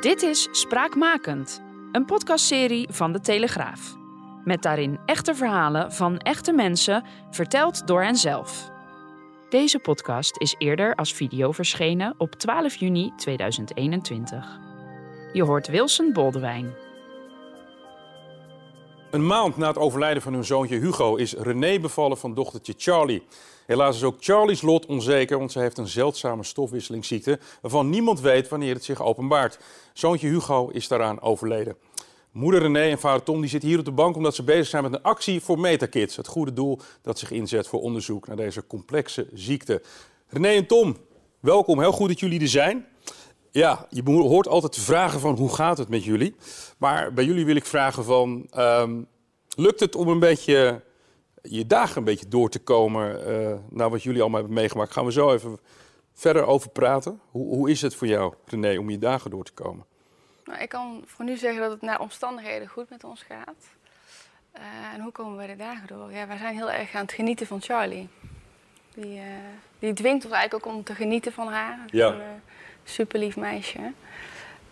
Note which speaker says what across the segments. Speaker 1: Dit is Spraakmakend, een podcastserie van de Telegraaf. Met daarin echte verhalen van echte mensen, verteld door henzelf. Deze podcast is eerder als video verschenen op 12 juni 2021. Je hoort Wilson Boldewijn.
Speaker 2: Een maand na het overlijden van hun zoontje Hugo is René bevallen van dochtertje Charlie. Helaas is ook Charlie's lot onzeker, want zij heeft een zeldzame stofwisselingsziekte waarvan niemand weet wanneer het zich openbaart. Zoontje Hugo is daaraan overleden. Moeder René en vader Tom die zitten hier op de bank omdat ze bezig zijn met een actie voor MetaKids. Het goede doel dat zich inzet voor onderzoek naar deze complexe ziekte. René en Tom, welkom. Heel goed dat jullie er zijn. Ja, je beho- hoort altijd de vragen van hoe gaat het met jullie. Maar bij jullie wil ik vragen van, ehm, lukt het om een beetje je dagen een beetje door te komen eh naar wat jullie allemaal hebben meegemaakt? Gaan we zo even verder over praten. Hoe, hoe is het voor jou, René, om je dagen door te komen?
Speaker 3: Nou, ik kan voor nu zeggen dat het naar omstandigheden goed met ons gaat. Eh, en hoe komen wij de dagen door? Ja, wij zijn heel erg aan het genieten van Charlie. Die, eh, die dwingt ons eigenlijk ook om te genieten van haar.
Speaker 2: Ja.
Speaker 3: Een super lief meisje.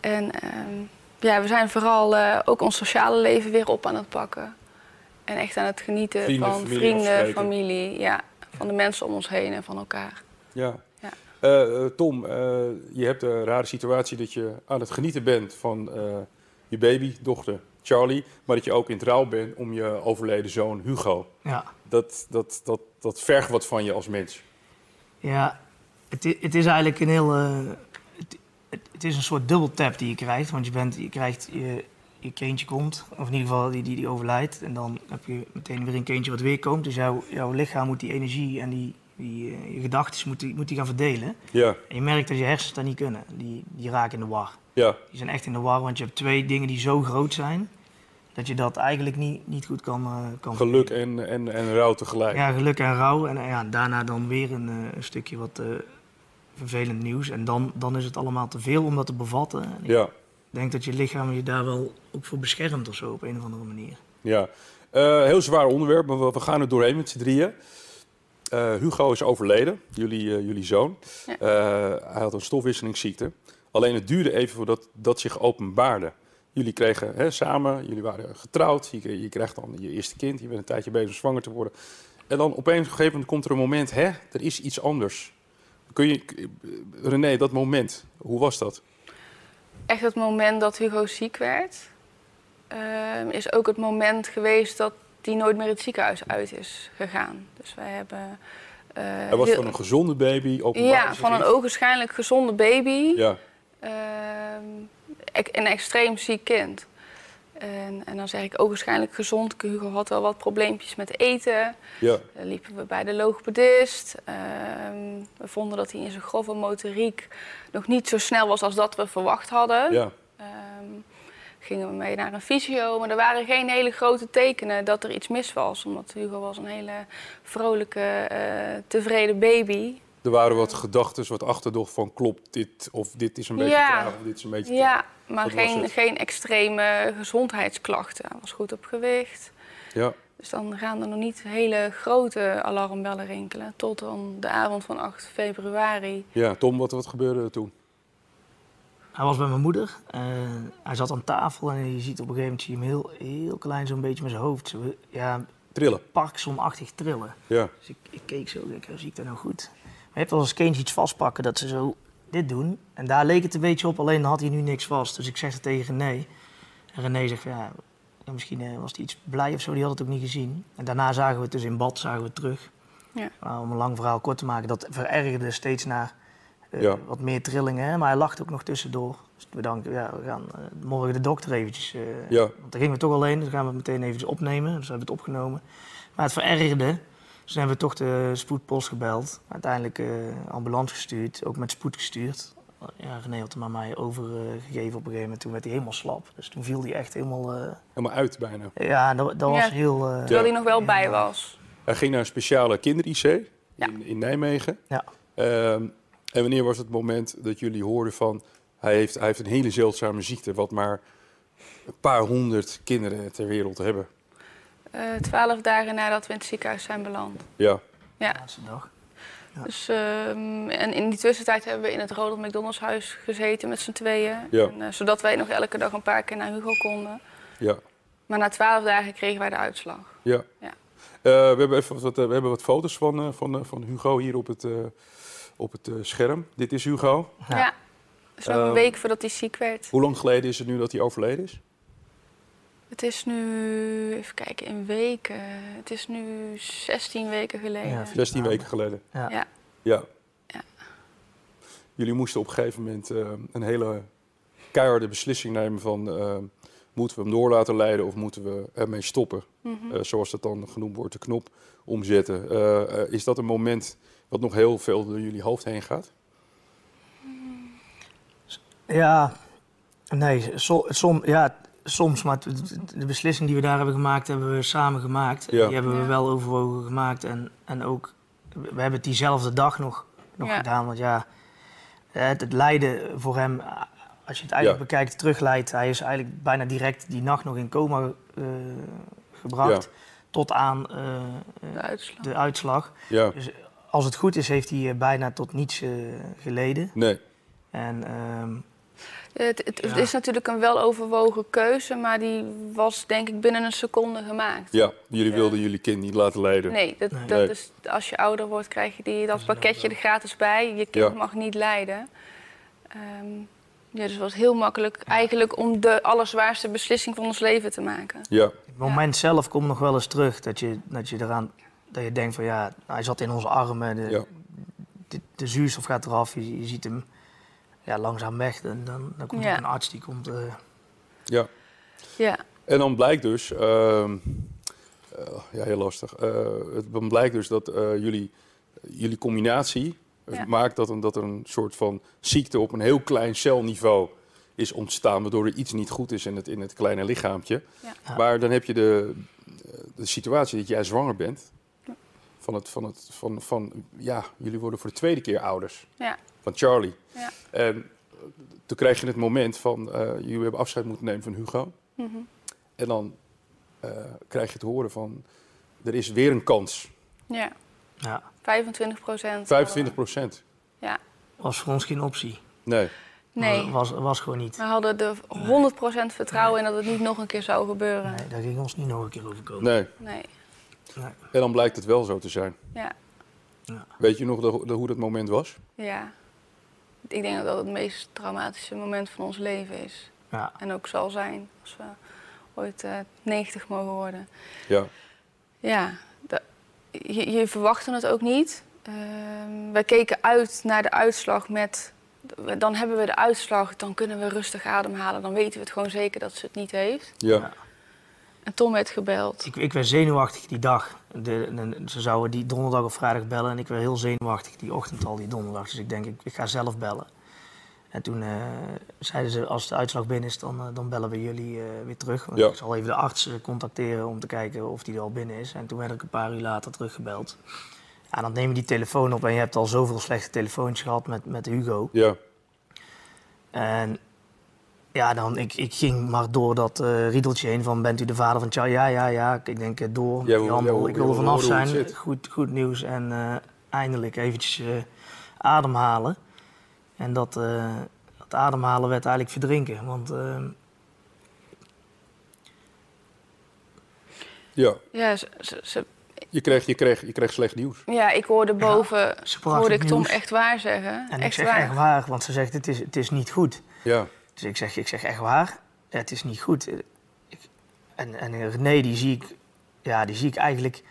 Speaker 3: En ehm, ja, we zijn vooral eh, ook ons sociale leven weer op aan het pakken. En echt aan het genieten
Speaker 2: Vrienden,
Speaker 3: van
Speaker 2: familie
Speaker 3: vrienden,
Speaker 2: afspreken.
Speaker 3: familie. Ja, van de mensen om ons heen en van elkaar.
Speaker 2: Ja.
Speaker 3: Ja.
Speaker 2: Eh, eh, Tom, eh, je hebt de rare situatie dat je aan het genieten bent van eh, je baby, dochter Charlie, maar dat je ook in trouw bent om je overleden zoon Hugo.
Speaker 4: Ja,
Speaker 2: Dat, dat, dat, dat vergt wat van je als mens.
Speaker 4: ja het, i- het is eigenlijk een heel. eh, het, het, het is een soort dubbeltap die je krijgt. Want je, bent, je krijgt je, je kindje komt, of in ieder geval die, die, die overlijdt. En dan heb je meteen weer een kindje wat weer komt. Dus jouw jouw lichaam moet die energie en die, die, eh, je gedachten moet die, moet die gaan verdelen.
Speaker 2: Ja,
Speaker 4: En je merkt dat je hersens dat niet kunnen. Die, die raken in de war.
Speaker 2: ja,
Speaker 4: Die zijn echt in de war, want je hebt twee dingen die zo groot zijn. dat je dat eigenlijk niet, niet goed kan, eh, kan
Speaker 2: geluk en, en, en rouw tegelijk.
Speaker 4: Ja, geluk en rouw. En eh, ja, daarna dan weer een, eh, een stukje wat eh, vervelend nieuws. En dan, dan is het allemaal te veel om dat te bevatten. En ik
Speaker 2: ja.
Speaker 4: denk dat je lichaam je daar wel ook voor beschermt of zo, op een of andere manier.
Speaker 2: ja. Eh, heel zwaar onderwerp, maar we, we gaan er doorheen met z'n drieën. Eh, Hugo is overleden, jullie, eh, jullie zoon.
Speaker 3: Ja.
Speaker 2: Eh, hij had een stofwisselingsziekte. Alleen het duurde even voordat dat zich openbaarde. Jullie kregen hè, samen, jullie waren getrouwd. Je, kre- je krijgt dan je eerste kind. Je bent een tijdje bezig om zwanger te worden. En dan opeens op een gegeven moment komt er een moment, hè, er is iets anders. Kun je, k- eh, René, dat moment, hoe was dat?
Speaker 3: echt het moment dat Hugo ziek werd, ehm, is ook het moment geweest dat hij nooit meer het ziekenhuis uit is gegaan. Dus wij hebben. eh,
Speaker 2: Hij was
Speaker 3: heel-
Speaker 2: van een gezonde baby, openbaar.
Speaker 3: Ja,
Speaker 2: is
Speaker 3: van een
Speaker 2: het-
Speaker 3: ogenschijnlijk gezonde baby.
Speaker 2: Ja,
Speaker 3: ehm, ek- een extreem ziek kind. En, en dan zeg ik ogenschijnlijk gezond. Hugo had wel wat probleempjes met eten.
Speaker 2: ja,
Speaker 3: Dan liepen we bij de logopedist. Ehm, we vonden dat hij in zijn grove motoriek nog niet zo snel was als dat we verwacht hadden.
Speaker 2: ja.
Speaker 3: Ehm, gingen we mee naar een fysio, maar er waren geen hele grote tekenen dat er iets mis was. Omdat Hugo was een hele vrolijke, eh, tevreden baby.
Speaker 2: Er waren wat gedachten, wat achterdocht van klopt dit of dit is een beetje
Speaker 3: Ja.
Speaker 2: traag of dit is een beetje
Speaker 3: Ja, maar
Speaker 2: dat was
Speaker 3: geen,
Speaker 2: het.
Speaker 3: geen extreme gezondheidsklachten. Hij was goed op gewicht.
Speaker 2: traag. Ja,
Speaker 3: Dus dan gaan er nog niet hele grote alarmbellen rinkelen. Tot dan de avond van 8 februari.
Speaker 2: ja. Tom, wat, wat gebeurde er toen?
Speaker 4: Hij was bij mijn moeder. eh, hij zat aan tafel en je ziet op een gegeven moment zie je hem heel, heel klein zo'n beetje met zijn hoofd. Zo, ja,
Speaker 2: Trillen.
Speaker 4: Parkinson-achtig trillen.
Speaker 2: Ja,
Speaker 4: Dus ik, ik keek zo, ik denk, hoe zie ik dat nou goed? Maar je hebt wel eens kindjes iets vastpakken dat ze zo dit doen. En daar leek het een beetje op, alleen had hij nu niks vast. Dus ik zeg het tegen René. En René zegt, van, ja, ja, misschien eh, was hij iets blij of zo, die had het ook niet gezien. En daarna zagen we het dus in bad, zagen we het terug.
Speaker 3: Ja.
Speaker 4: Maar om een lang verhaal kort te maken, dat verergerde steeds naar eh,
Speaker 2: Ja.
Speaker 4: wat meer trillingen. hè. Maar hij lacht ook nog tussendoor. Dus we danken, ja, we gaan eh, morgen de dokter eventjes... eh,
Speaker 2: ja,
Speaker 4: want daar gingen we toch alleen, dus gaan we het meteen eventjes opnemen. Dus we hebben het opgenomen. Maar het verergerde. Dus toen hebben we toch de spoedpost gebeld. Uiteindelijk eh ambulance gestuurd, ook met spoed gestuurd. Ja, René had hem aan mij overgegeven op een gegeven moment. Toen werd hij helemaal slap. Dus toen viel hij echt helemaal... eh,
Speaker 2: helemaal uit bijna.
Speaker 4: ja, dat, dat was
Speaker 3: Ja.
Speaker 4: heel... eh,
Speaker 3: Terwijl hij nog wel
Speaker 4: Ja.
Speaker 3: bij was.
Speaker 2: Hij ging naar een speciale kinder-IC in, in Nijmegen.
Speaker 4: Ja.
Speaker 2: Ehm, en wanneer was het moment dat jullie hoorden van hij heeft, hij heeft een hele zeldzame ziekte, wat maar een paar honderd kinderen ter wereld hebben?
Speaker 3: Eh, Twaalf dagen nadat we in het ziekenhuis zijn beland.
Speaker 2: Ja,
Speaker 4: laatste dag. Ja.
Speaker 3: Dus, ehm, en in die tussentijd hebben we in het Ronald McDonald's huis gezeten met z'n tweeën.
Speaker 2: Ja.
Speaker 3: En, eh, zodat wij nog elke dag een paar keer naar Hugo konden.
Speaker 2: Ja,
Speaker 3: Maar na twaalf dagen kregen wij de uitslag.
Speaker 2: ja.
Speaker 3: Ja.
Speaker 2: Eh, we, hebben even wat, eh, we hebben wat foto's van, eh, van, eh, van Hugo hier op het, eh, op het eh, scherm. Dit is Hugo.
Speaker 3: Ja.
Speaker 4: Ja.
Speaker 3: Dus nog een
Speaker 2: Ehm.
Speaker 3: week voordat hij ziek werd.
Speaker 2: Hoe lang geleden is het nu dat hij overleden is?
Speaker 3: Het is nu, even kijken, in weken. Het is nu 16 weken geleden.
Speaker 4: Ja,
Speaker 2: 16 weken geleden.
Speaker 4: Ja.
Speaker 3: Ja.
Speaker 2: Ja.
Speaker 3: Ja.
Speaker 2: Jullie moesten op een gegeven moment eh, een hele keiharde beslissing nemen van... eh, moeten we hem door laten leiden of moeten we ermee stoppen?
Speaker 3: Mhm.
Speaker 2: Eh, zoals dat dan genoemd wordt, de knop omzetten. Eh, eh, is dat een moment wat nog heel veel door jullie hoofd heen gaat?
Speaker 4: Ja, nee, so- som, ja, soms, maar t- t- de beslissing die we daar hebben gemaakt, hebben we samen gemaakt.
Speaker 2: Ja.
Speaker 4: Die hebben we
Speaker 3: Ja.
Speaker 4: wel overwogen gemaakt en, en ook, we hebben het diezelfde dag nog, nog
Speaker 3: Ja.
Speaker 4: gedaan. Want ja, het, het lijden voor hem, als je het eigenlijk bekijkt, terugleidt, hij is eigenlijk bijna direct die nacht nog in coma eh, gebracht. Tot aan eh, eh,
Speaker 3: De uitslag.
Speaker 4: de uitslag.
Speaker 2: Ja,
Speaker 4: Dus als het goed is, heeft hij eh, bijna tot niets eh, geleden.
Speaker 2: nee.
Speaker 4: En ehm,
Speaker 3: Het, het, het
Speaker 4: Ja.
Speaker 3: is natuurlijk een weloverwogen keuze, maar die was denk ik binnen een seconde gemaakt.
Speaker 2: Ja, jullie wilden jullie kind niet laten leiden.
Speaker 3: Nee, dat,
Speaker 4: Nee.
Speaker 3: dat
Speaker 2: Nee.
Speaker 3: is, als je ouder wordt krijg je die, dat
Speaker 4: is
Speaker 3: pakketje er gratis bij. Je kind
Speaker 2: Ja.
Speaker 3: mag niet lijden. Ehm, ja, dus het was heel makkelijk eigenlijk om de allerzwaarste beslissing van ons leven te maken.
Speaker 2: Ja,
Speaker 4: Het moment zelf komt nog wel eens terug. Dat je, dat je eraan dat je denkt van ja, hij zat in onze armen. De,
Speaker 2: Ja.
Speaker 4: de, de zuurstof gaat eraf. Je, je ziet hem ja, langzaam weg. En dan, dan komt
Speaker 3: Ja.
Speaker 4: er een arts die komt. eh,
Speaker 2: ja.
Speaker 3: Ja,
Speaker 2: En dan blijkt dus, ehm, eh, ja, heel lastig. Eh, het, dan blijkt dus dat eh, jullie, jullie combinatie eh,
Speaker 3: Ja.
Speaker 2: maakt dat, een, dat er een soort van ziekte op een heel klein celniveau is ontstaan, waardoor er iets niet goed is in het, in het kleine lichaampje.
Speaker 3: Ja.
Speaker 4: Ja.
Speaker 2: Maar dan heb je de, de situatie dat jij zwanger bent. Van het, van het, van, van, ja, jullie worden voor de tweede keer ouders
Speaker 3: ja,
Speaker 2: van Charlie.
Speaker 3: Ja.
Speaker 2: En toen kreeg je het moment van, eh, jullie hebben afscheid moeten nemen van Hugo.
Speaker 3: mhm,
Speaker 2: En dan eh, krijg je te horen van, er is weer een kans.
Speaker 3: ja.
Speaker 4: ja,
Speaker 3: 25 procent.
Speaker 2: 25 procent.
Speaker 4: was voor ons geen optie.
Speaker 2: Nee,
Speaker 3: Nee,
Speaker 4: Was, was gewoon niet.
Speaker 3: we hadden er 100 procent vertrouwen in dat het niet nog een keer zou gebeuren.
Speaker 4: Nee, daar ging ons niet nog een keer overkomen.
Speaker 2: nee.
Speaker 3: Nee,
Speaker 4: Nee.
Speaker 2: En dan blijkt het wel zo te zijn.
Speaker 3: ja,
Speaker 2: Weet je nog de- de- hoe dat moment was?
Speaker 3: ja. Ik denk dat dat het meest traumatische moment van ons leven is.
Speaker 4: Ja.
Speaker 3: En ook zal zijn als we ooit eh, 90 mogen worden.
Speaker 2: Ja,
Speaker 3: Ja, da- je, je verwachtte het ook niet. Ehm we keken uit naar de uitslag met... Dan hebben we de uitslag, dan kunnen we rustig ademhalen. Dan weten we het gewoon zeker dat ze het niet heeft.
Speaker 2: ja,
Speaker 3: En Tom werd gebeld.
Speaker 4: Ik, ik werd zenuwachtig die dag. De, de- ze zouden die donderdag of vrijdag bellen en ik werd heel zenuwachtig die ochtend al, die donderdag. Dus ik denk, ik, ik ga zelf bellen. En toen eh, zeiden ze, als de uitslag binnen is, dan, eh, dan bellen we jullie eh, weer terug. Want
Speaker 2: Ja.
Speaker 4: Ik zal even de arts eh, contacteren om te kijken of die er al binnen is. En toen werd ik een paar uur later teruggebeld. Ja, dan neem je die telefoon op en je hebt al zoveel slechte telefoontjes gehad met, met Hugo.
Speaker 2: ja,
Speaker 4: En ja, dan, ik, ik ging maar door dat eh, riedeltje heen van bent u de vader van Charlie? Ja, ja, ja. Ik denk eh, door met
Speaker 2: Ja,
Speaker 4: die
Speaker 2: we-
Speaker 4: handel.
Speaker 2: ja, we-
Speaker 4: ik wil er
Speaker 2: we
Speaker 4: vanaf
Speaker 2: horen hoe het
Speaker 4: zijn.
Speaker 2: zit.
Speaker 4: Goed, goed nieuws en eh, eindelijk eventjes eh, ademhalen. En dat, eh, dat ademhalen werd eigenlijk verdrinken. Want eh,
Speaker 2: ja.
Speaker 3: Ja, ze- ze- ze-
Speaker 2: Je kreeg, je kreeg, je kreeg slecht nieuws.
Speaker 3: ja ik hoorde boven...
Speaker 4: ze bracht
Speaker 3: Hoorde ik
Speaker 4: het
Speaker 3: Tom
Speaker 4: nieuws.
Speaker 3: echt waar zeggen.
Speaker 4: En ik
Speaker 3: echt
Speaker 4: zeg
Speaker 3: waar.
Speaker 4: echt waar, want ze zegt het is, het is niet goed.
Speaker 2: Ja,
Speaker 4: Dus ik zeg, ik zeg echt waar, het is niet goed. Eh, ik- En, en René, die zie, ik, ja, die zie ik eigenlijk een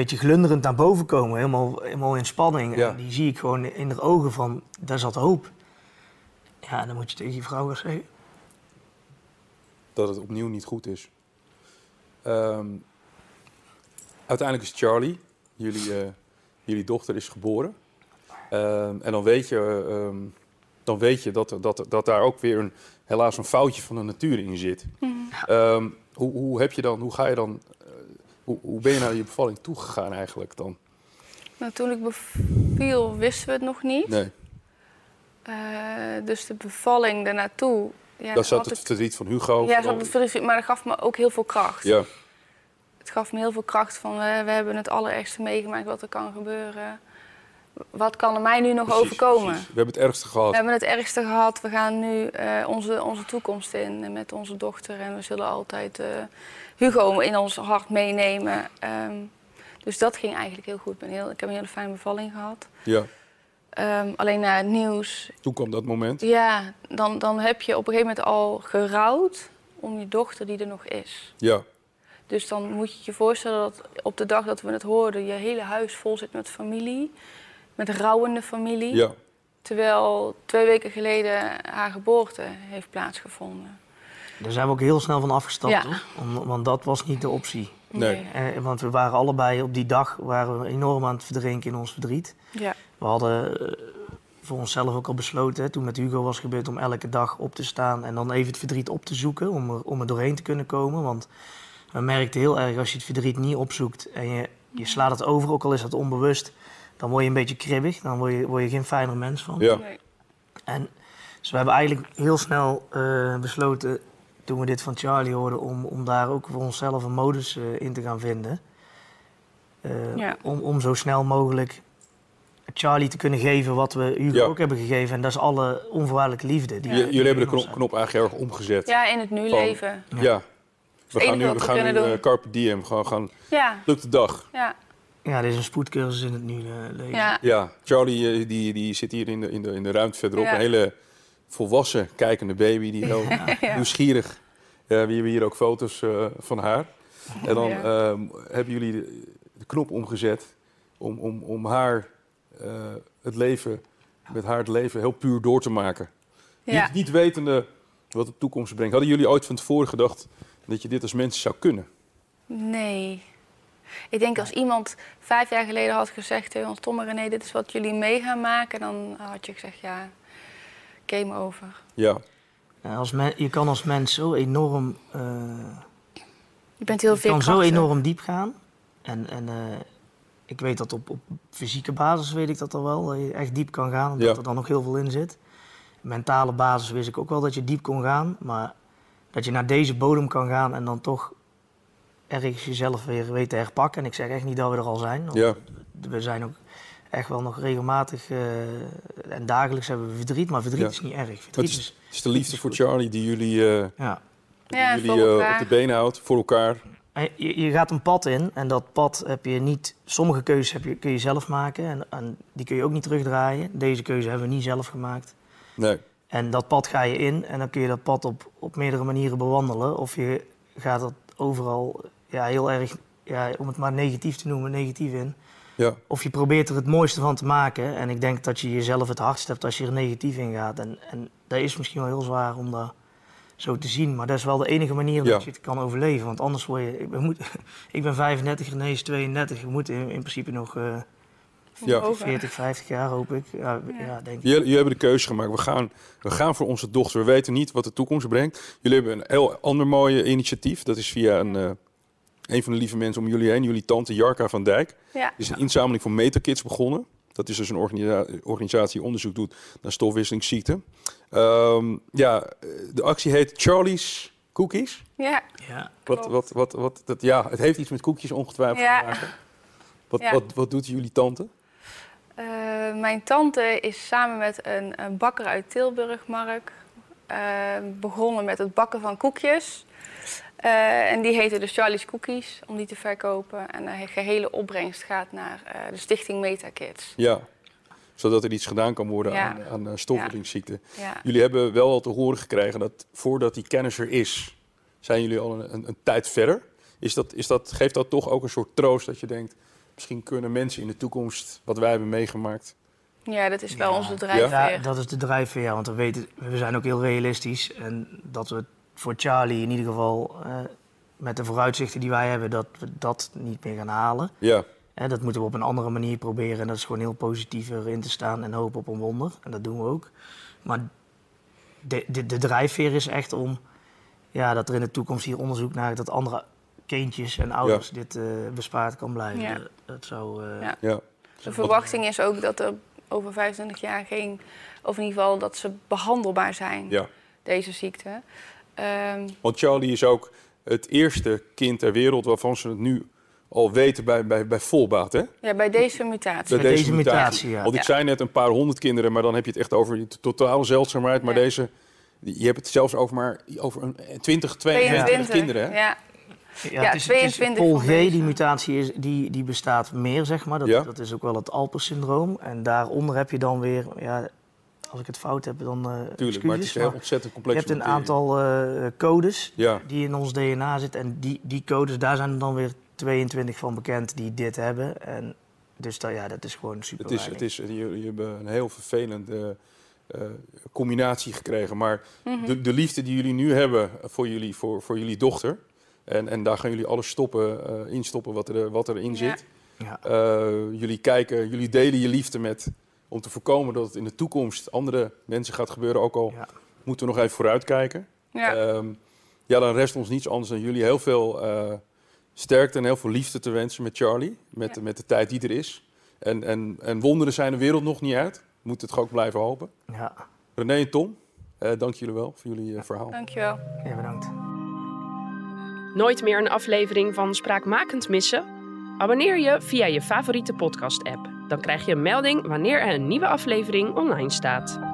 Speaker 4: beetje glunderend naar boven komen. Helemaal, helemaal in spanning.
Speaker 2: Ja.
Speaker 4: En die zie ik gewoon in haar ogen van, daar zat hoop. Ja, en dan moet je tegen je vrouw gaan zeggen.
Speaker 2: dat het opnieuw niet goed is. Ehm, uiteindelijk is Charlie, jullie, eh, jullie dochter, is geboren. Ehm, en dan weet je, eh, ehm, dan weet je dat, er- dat, er- dat daar ook weer een, helaas een foutje van de natuur in zit.
Speaker 3: Mhm.
Speaker 2: Ehm, hoe, hoe, heb je dan, hoe ga je dan, eh, hoe, hoe ben je naar je bevalling toegegaan eigenlijk dan?
Speaker 3: Nou, toen ik beviel, wisten we het nog niet.
Speaker 2: Nee,
Speaker 3: Eh, dus de bevalling daarnaartoe... Ja,
Speaker 2: dat zat
Speaker 3: had
Speaker 2: het
Speaker 3: ik-
Speaker 2: verdriet van Hugo.
Speaker 3: Ja, zat het verdriet, maar dat gaf me ook heel veel kracht.
Speaker 2: ja,
Speaker 3: Het gaf me heel veel kracht van we, we hebben het allerergste meegemaakt wat er kan gebeuren. Wat kan er mij nu nog
Speaker 2: Precies,
Speaker 3: overkomen?
Speaker 2: precies. We hebben het ergste gehad.
Speaker 3: We hebben het ergste gehad. We gaan nu eh, onze, onze toekomst in met onze dochter. En we zullen altijd eh, Hugo in ons hart meenemen. Ehm, dus dat ging eigenlijk heel goed. Ik, ben heel, ik heb een hele fijne bevalling gehad.
Speaker 2: Ja,
Speaker 3: Ehm, alleen na het nieuws.
Speaker 2: toen kwam dat moment.
Speaker 3: Ja, dan, dan heb je op een gegeven moment al gerouwd om je dochter die er nog is.
Speaker 2: Ja,
Speaker 3: Dus dan moet je je voorstellen dat op de dag dat we het hoorden... je hele huis vol zit met familie. Met rouwende familie.
Speaker 2: ja.
Speaker 3: Terwijl twee weken geleden haar geboorte heeft plaatsgevonden.
Speaker 4: Daar zijn we ook heel snel van afgestapt,
Speaker 3: Ja.
Speaker 4: hoor. Om- want dat was niet de optie.
Speaker 2: Nee.
Speaker 4: Eh, want we waren allebei op die dag waren we enorm aan het verdrinken in ons verdriet.
Speaker 3: Ja.
Speaker 4: We hadden eh, voor onszelf ook al besloten, hè, toen met Hugo was gebeurd, om elke dag op te staan en dan even het verdriet op te zoeken om er, om er doorheen te kunnen komen. Want we merkten heel erg, als je het verdriet niet opzoekt en je, je slaat het over, ook al is dat onbewust, dan word je een beetje kribbig, dan word je, word je geen fijner mens van.
Speaker 2: Ja.
Speaker 3: Nee.
Speaker 4: En, dus we hebben eigenlijk heel snel eh, besloten, toen we dit van Charlie hoorden, om, om daar ook voor onszelf een modus eh, in te gaan vinden. Eh,
Speaker 3: Ja.
Speaker 4: om, om zo snel mogelijk Charlie te kunnen geven wat we Hugo
Speaker 2: Ja.
Speaker 4: ook hebben gegeven. En dat is alle onvoorwaardelijke liefde. Die
Speaker 2: J-
Speaker 4: die
Speaker 2: Jullie hebben
Speaker 4: in
Speaker 2: de
Speaker 4: ons
Speaker 2: knop, knop eigenlijk erg omgezet.
Speaker 3: ja, in het nu
Speaker 2: Van-
Speaker 3: leven.
Speaker 2: Ja. We
Speaker 3: Het enige
Speaker 2: gaan nu,
Speaker 3: wat
Speaker 2: we
Speaker 3: we
Speaker 2: gaan nu
Speaker 3: kunnen doen.
Speaker 2: eh, Carpe Diem, gewoon gaan,
Speaker 3: Ja,
Speaker 2: lukt de dag.
Speaker 3: ja,
Speaker 4: Ja, dit is een spoedcursus in het nu eh, leven.
Speaker 3: ja.
Speaker 2: Ja, Charlie eh, die, die zit hier in de, in de, in de ruimte verderop.
Speaker 3: Ja.
Speaker 2: Een hele volwassen kijkende baby, die heel nieuwsgierig. Eh, we hebben hier ook foto's eh, van haar. En dan
Speaker 3: Ja.
Speaker 2: ehm, hebben jullie de, de knop omgezet om, om, om haar eh, het leven, met haar het leven heel puur door te maken.
Speaker 3: Ja.
Speaker 2: Niet, niet wetende wat de toekomst brengt. Hadden jullie ooit van tevoren gedacht dat je dit als mens zou kunnen?
Speaker 3: Nee. Ik denk als iemand vijf jaar geleden had gezegd tegen ons... Tom en René, dit is wat jullie mee gaan maken... dan had je gezegd, ja, game over.
Speaker 2: Ja,
Speaker 4: Ja, Als men- je kan als mens zo enorm eh,
Speaker 3: Je bent heel
Speaker 4: Het kan
Speaker 3: veel
Speaker 4: zo enorm diep gaan. En, en eh, ik weet dat op, op fysieke basis weet ik dat al wel. Dat je echt diep kan gaan, omdat
Speaker 2: Ja.
Speaker 4: er dan nog heel veel in zit. Mentale basis wist ik ook wel dat je diep kon gaan. Maar dat je naar deze bodem kan gaan en dan toch ergens jezelf weer weet te herpakken. En ik zeg echt niet dat we er al zijn.
Speaker 3: Nou.
Speaker 4: want
Speaker 2: ja,
Speaker 4: We zijn ook echt wel nog regelmatig eh, en dagelijks hebben we verdriet. Maar verdriet
Speaker 2: Ja.
Speaker 4: is niet erg.
Speaker 2: het
Speaker 4: Verdriet
Speaker 2: is,
Speaker 4: is...
Speaker 2: het is de liefde voor Charlie die jullie, eh,
Speaker 4: Ja.
Speaker 2: die
Speaker 3: Ja,
Speaker 2: jullie
Speaker 3: voor
Speaker 2: eh, op
Speaker 3: elkaar.
Speaker 2: de benen houdt, voor elkaar.
Speaker 4: En Je, je gaat een pad in en dat pad heb je niet. Sommige keuzes heb je, kun je zelf maken en, en die kun je ook niet terugdraaien. Deze keuze hebben we niet zelf gemaakt.
Speaker 2: Nee.
Speaker 4: En dat pad ga je in en dan kun je dat pad op, op meerdere manieren bewandelen. Of je gaat dat overal ja, heel erg, ja, om het maar negatief te noemen, negatief in.
Speaker 2: Ja,
Speaker 4: Of je probeert er het mooiste van te maken. En ik denk dat je jezelf het hardst hebt als je er negatief in gaat. En, en dat is misschien wel heel zwaar om dat zo te zien. Maar dat is wel de enige manier
Speaker 2: Ja.
Speaker 4: dat je het kan overleven. Want anders word je... Ik ben, moet, ik ben 35, René is 32. We moeten in, in principe nog eh
Speaker 2: ja.
Speaker 4: 40, 50 jaar, hoop ik. Ja, ja. denk ik.
Speaker 2: Jullie, jullie hebben de keuze gemaakt. We gaan, we gaan voor onze dochter. We weten niet wat de toekomst brengt. Jullie hebben een heel ander mooi eh, initiatief. Dat is via een, eh, een van de lieve mensen om jullie heen. Jullie tante Jarka van Dijk.
Speaker 3: Ja,
Speaker 2: Er is een inzameling voor Metakids begonnen. Dat is dus een organisa- organisatie die onderzoek doet naar stofwisselingsziekten. Ehm, ja, eh, de actie heet Charlie's Cookies.
Speaker 3: ja,
Speaker 4: Ja.
Speaker 2: Wat,
Speaker 3: Klopt.
Speaker 2: wat, wat, wat, dat, ja, het heeft iets met koekjes ongetwijfeld
Speaker 3: ja.
Speaker 2: te maken. Wat,
Speaker 3: Ja.
Speaker 2: wat, wat doet jullie tante?
Speaker 3: Eh, mijn tante is samen met een, eh, bakker uit Tilburg, Mark, eh, begonnen met het bakken van koekjes. Eh, en die heette dus Charlie's Cookies, om die te verkopen. En de gehele opbrengst gaat naar eh, de stichting Meta Kids.
Speaker 2: Ja, zodat er iets gedaan kan worden
Speaker 3: Ja.
Speaker 2: aan, aan eh, stofwisselingsziekten.
Speaker 3: Ja.
Speaker 2: Jullie hebben wel al te horen gekregen dat voordat die kennis er is, zijn jullie al een, een, een tijd verder. Is dat, is dat, geeft dat toch ook een soort troost dat je denkt, misschien kunnen mensen in de toekomst wat wij hebben meegemaakt.
Speaker 3: ja, dat is wel
Speaker 4: Ja.
Speaker 3: onze drijfveer.
Speaker 4: Ja, dat is de drijfveer, ja, want we, weten, we zijn ook heel realistisch. En dat we voor Charlie in ieder geval, eh, met de vooruitzichten die wij hebben, dat we dat niet meer gaan halen.
Speaker 2: Ja,
Speaker 4: Hè, dat moeten we op een andere manier proberen. En dat is gewoon heel positief erin te staan en hopen op een wonder. En dat doen we ook. Maar de, de, de drijfveer is echt om ja, dat er in de toekomst hier onderzoek naar dat andere kindjes en ouders dit eh, bespaard kan blijven.
Speaker 3: Ja.
Speaker 4: Dat, dat zou. eh,
Speaker 3: Ja.
Speaker 2: ja.
Speaker 3: De verwachting is ook dat er over 25 jaar geen, of in ieder geval dat ze behandelbaar zijn,
Speaker 2: ja.
Speaker 3: deze ziekte. Ehm,
Speaker 2: Want Charlie is ook het eerste kind ter wereld waarvan ze het nu al weten bij, bij, bij volbaat, hè?
Speaker 3: Ja, bij deze mutatie.
Speaker 2: Bij
Speaker 4: Bij deze mutatie, ja.
Speaker 2: Want ik
Speaker 3: Ja.
Speaker 2: zei net een paar honderd kinderen, maar dan heb je het echt over je t- totaal zeldzaamheid. Maar
Speaker 3: Ja.
Speaker 2: deze, je hebt het zelfs over maar over een 20, 22, kinderen, hè?
Speaker 3: Ja,
Speaker 4: Ja,
Speaker 3: Ja,
Speaker 4: het is, het is
Speaker 3: 22
Speaker 4: Pol
Speaker 3: van
Speaker 4: G,
Speaker 3: deze.
Speaker 4: die mutatie is, die, die bestaat meer, zeg maar. Dat,
Speaker 2: Ja.
Speaker 4: dat is ook wel het Alpers-syndroom. En daaronder heb je dan weer, ja, als ik het fout heb, dan eh
Speaker 2: Tuurlijk, maar het is
Speaker 4: excuses,
Speaker 2: heel
Speaker 4: maar
Speaker 2: ontzettend
Speaker 4: je
Speaker 2: complex.
Speaker 4: hebt een aantal eh, codes
Speaker 2: Ja.
Speaker 4: die in ons DNA zitten. En die, die codes, daar zijn er dan weer 22 van bekend die dit hebben. En dus dat, ja, dat is gewoon super
Speaker 2: Het is, het is, je, je hebt een heel vervelende eh, combinatie gekregen. Maar de, de liefde die jullie nu hebben eh, voor jullie, voor, voor jullie dochter. En, en daar gaan jullie alles stoppen, eh, instoppen wat, er, wat erin
Speaker 3: Ja.
Speaker 2: zit.
Speaker 4: Ja.
Speaker 2: Eh, jullie kijken, jullie delen je liefde met. Om te voorkomen dat het in de toekomst andere mensen gaat gebeuren. Ook al
Speaker 4: Ja.
Speaker 2: moeten we nog even vooruitkijken.
Speaker 3: ja.
Speaker 2: Ehm, ja, dan rest ons niets anders dan jullie heel veel eh, sterkte en heel veel liefde te wensen met Charlie. Met,
Speaker 3: Ja.
Speaker 2: met de tijd die er is. En, en, en wonderen zijn de wereld nog niet uit. Moet het gewoon blijven hopen.
Speaker 4: Ja.
Speaker 2: René en Tom, eh, dank jullie wel voor jullie eh, verhaal.
Speaker 3: dankjewel.
Speaker 4: ja, bedankt.
Speaker 1: Nooit meer een aflevering van Spraakmakend missen? Abonneer je via je favoriete podcast-app. Dan krijg je een melding wanneer er een nieuwe aflevering online staat.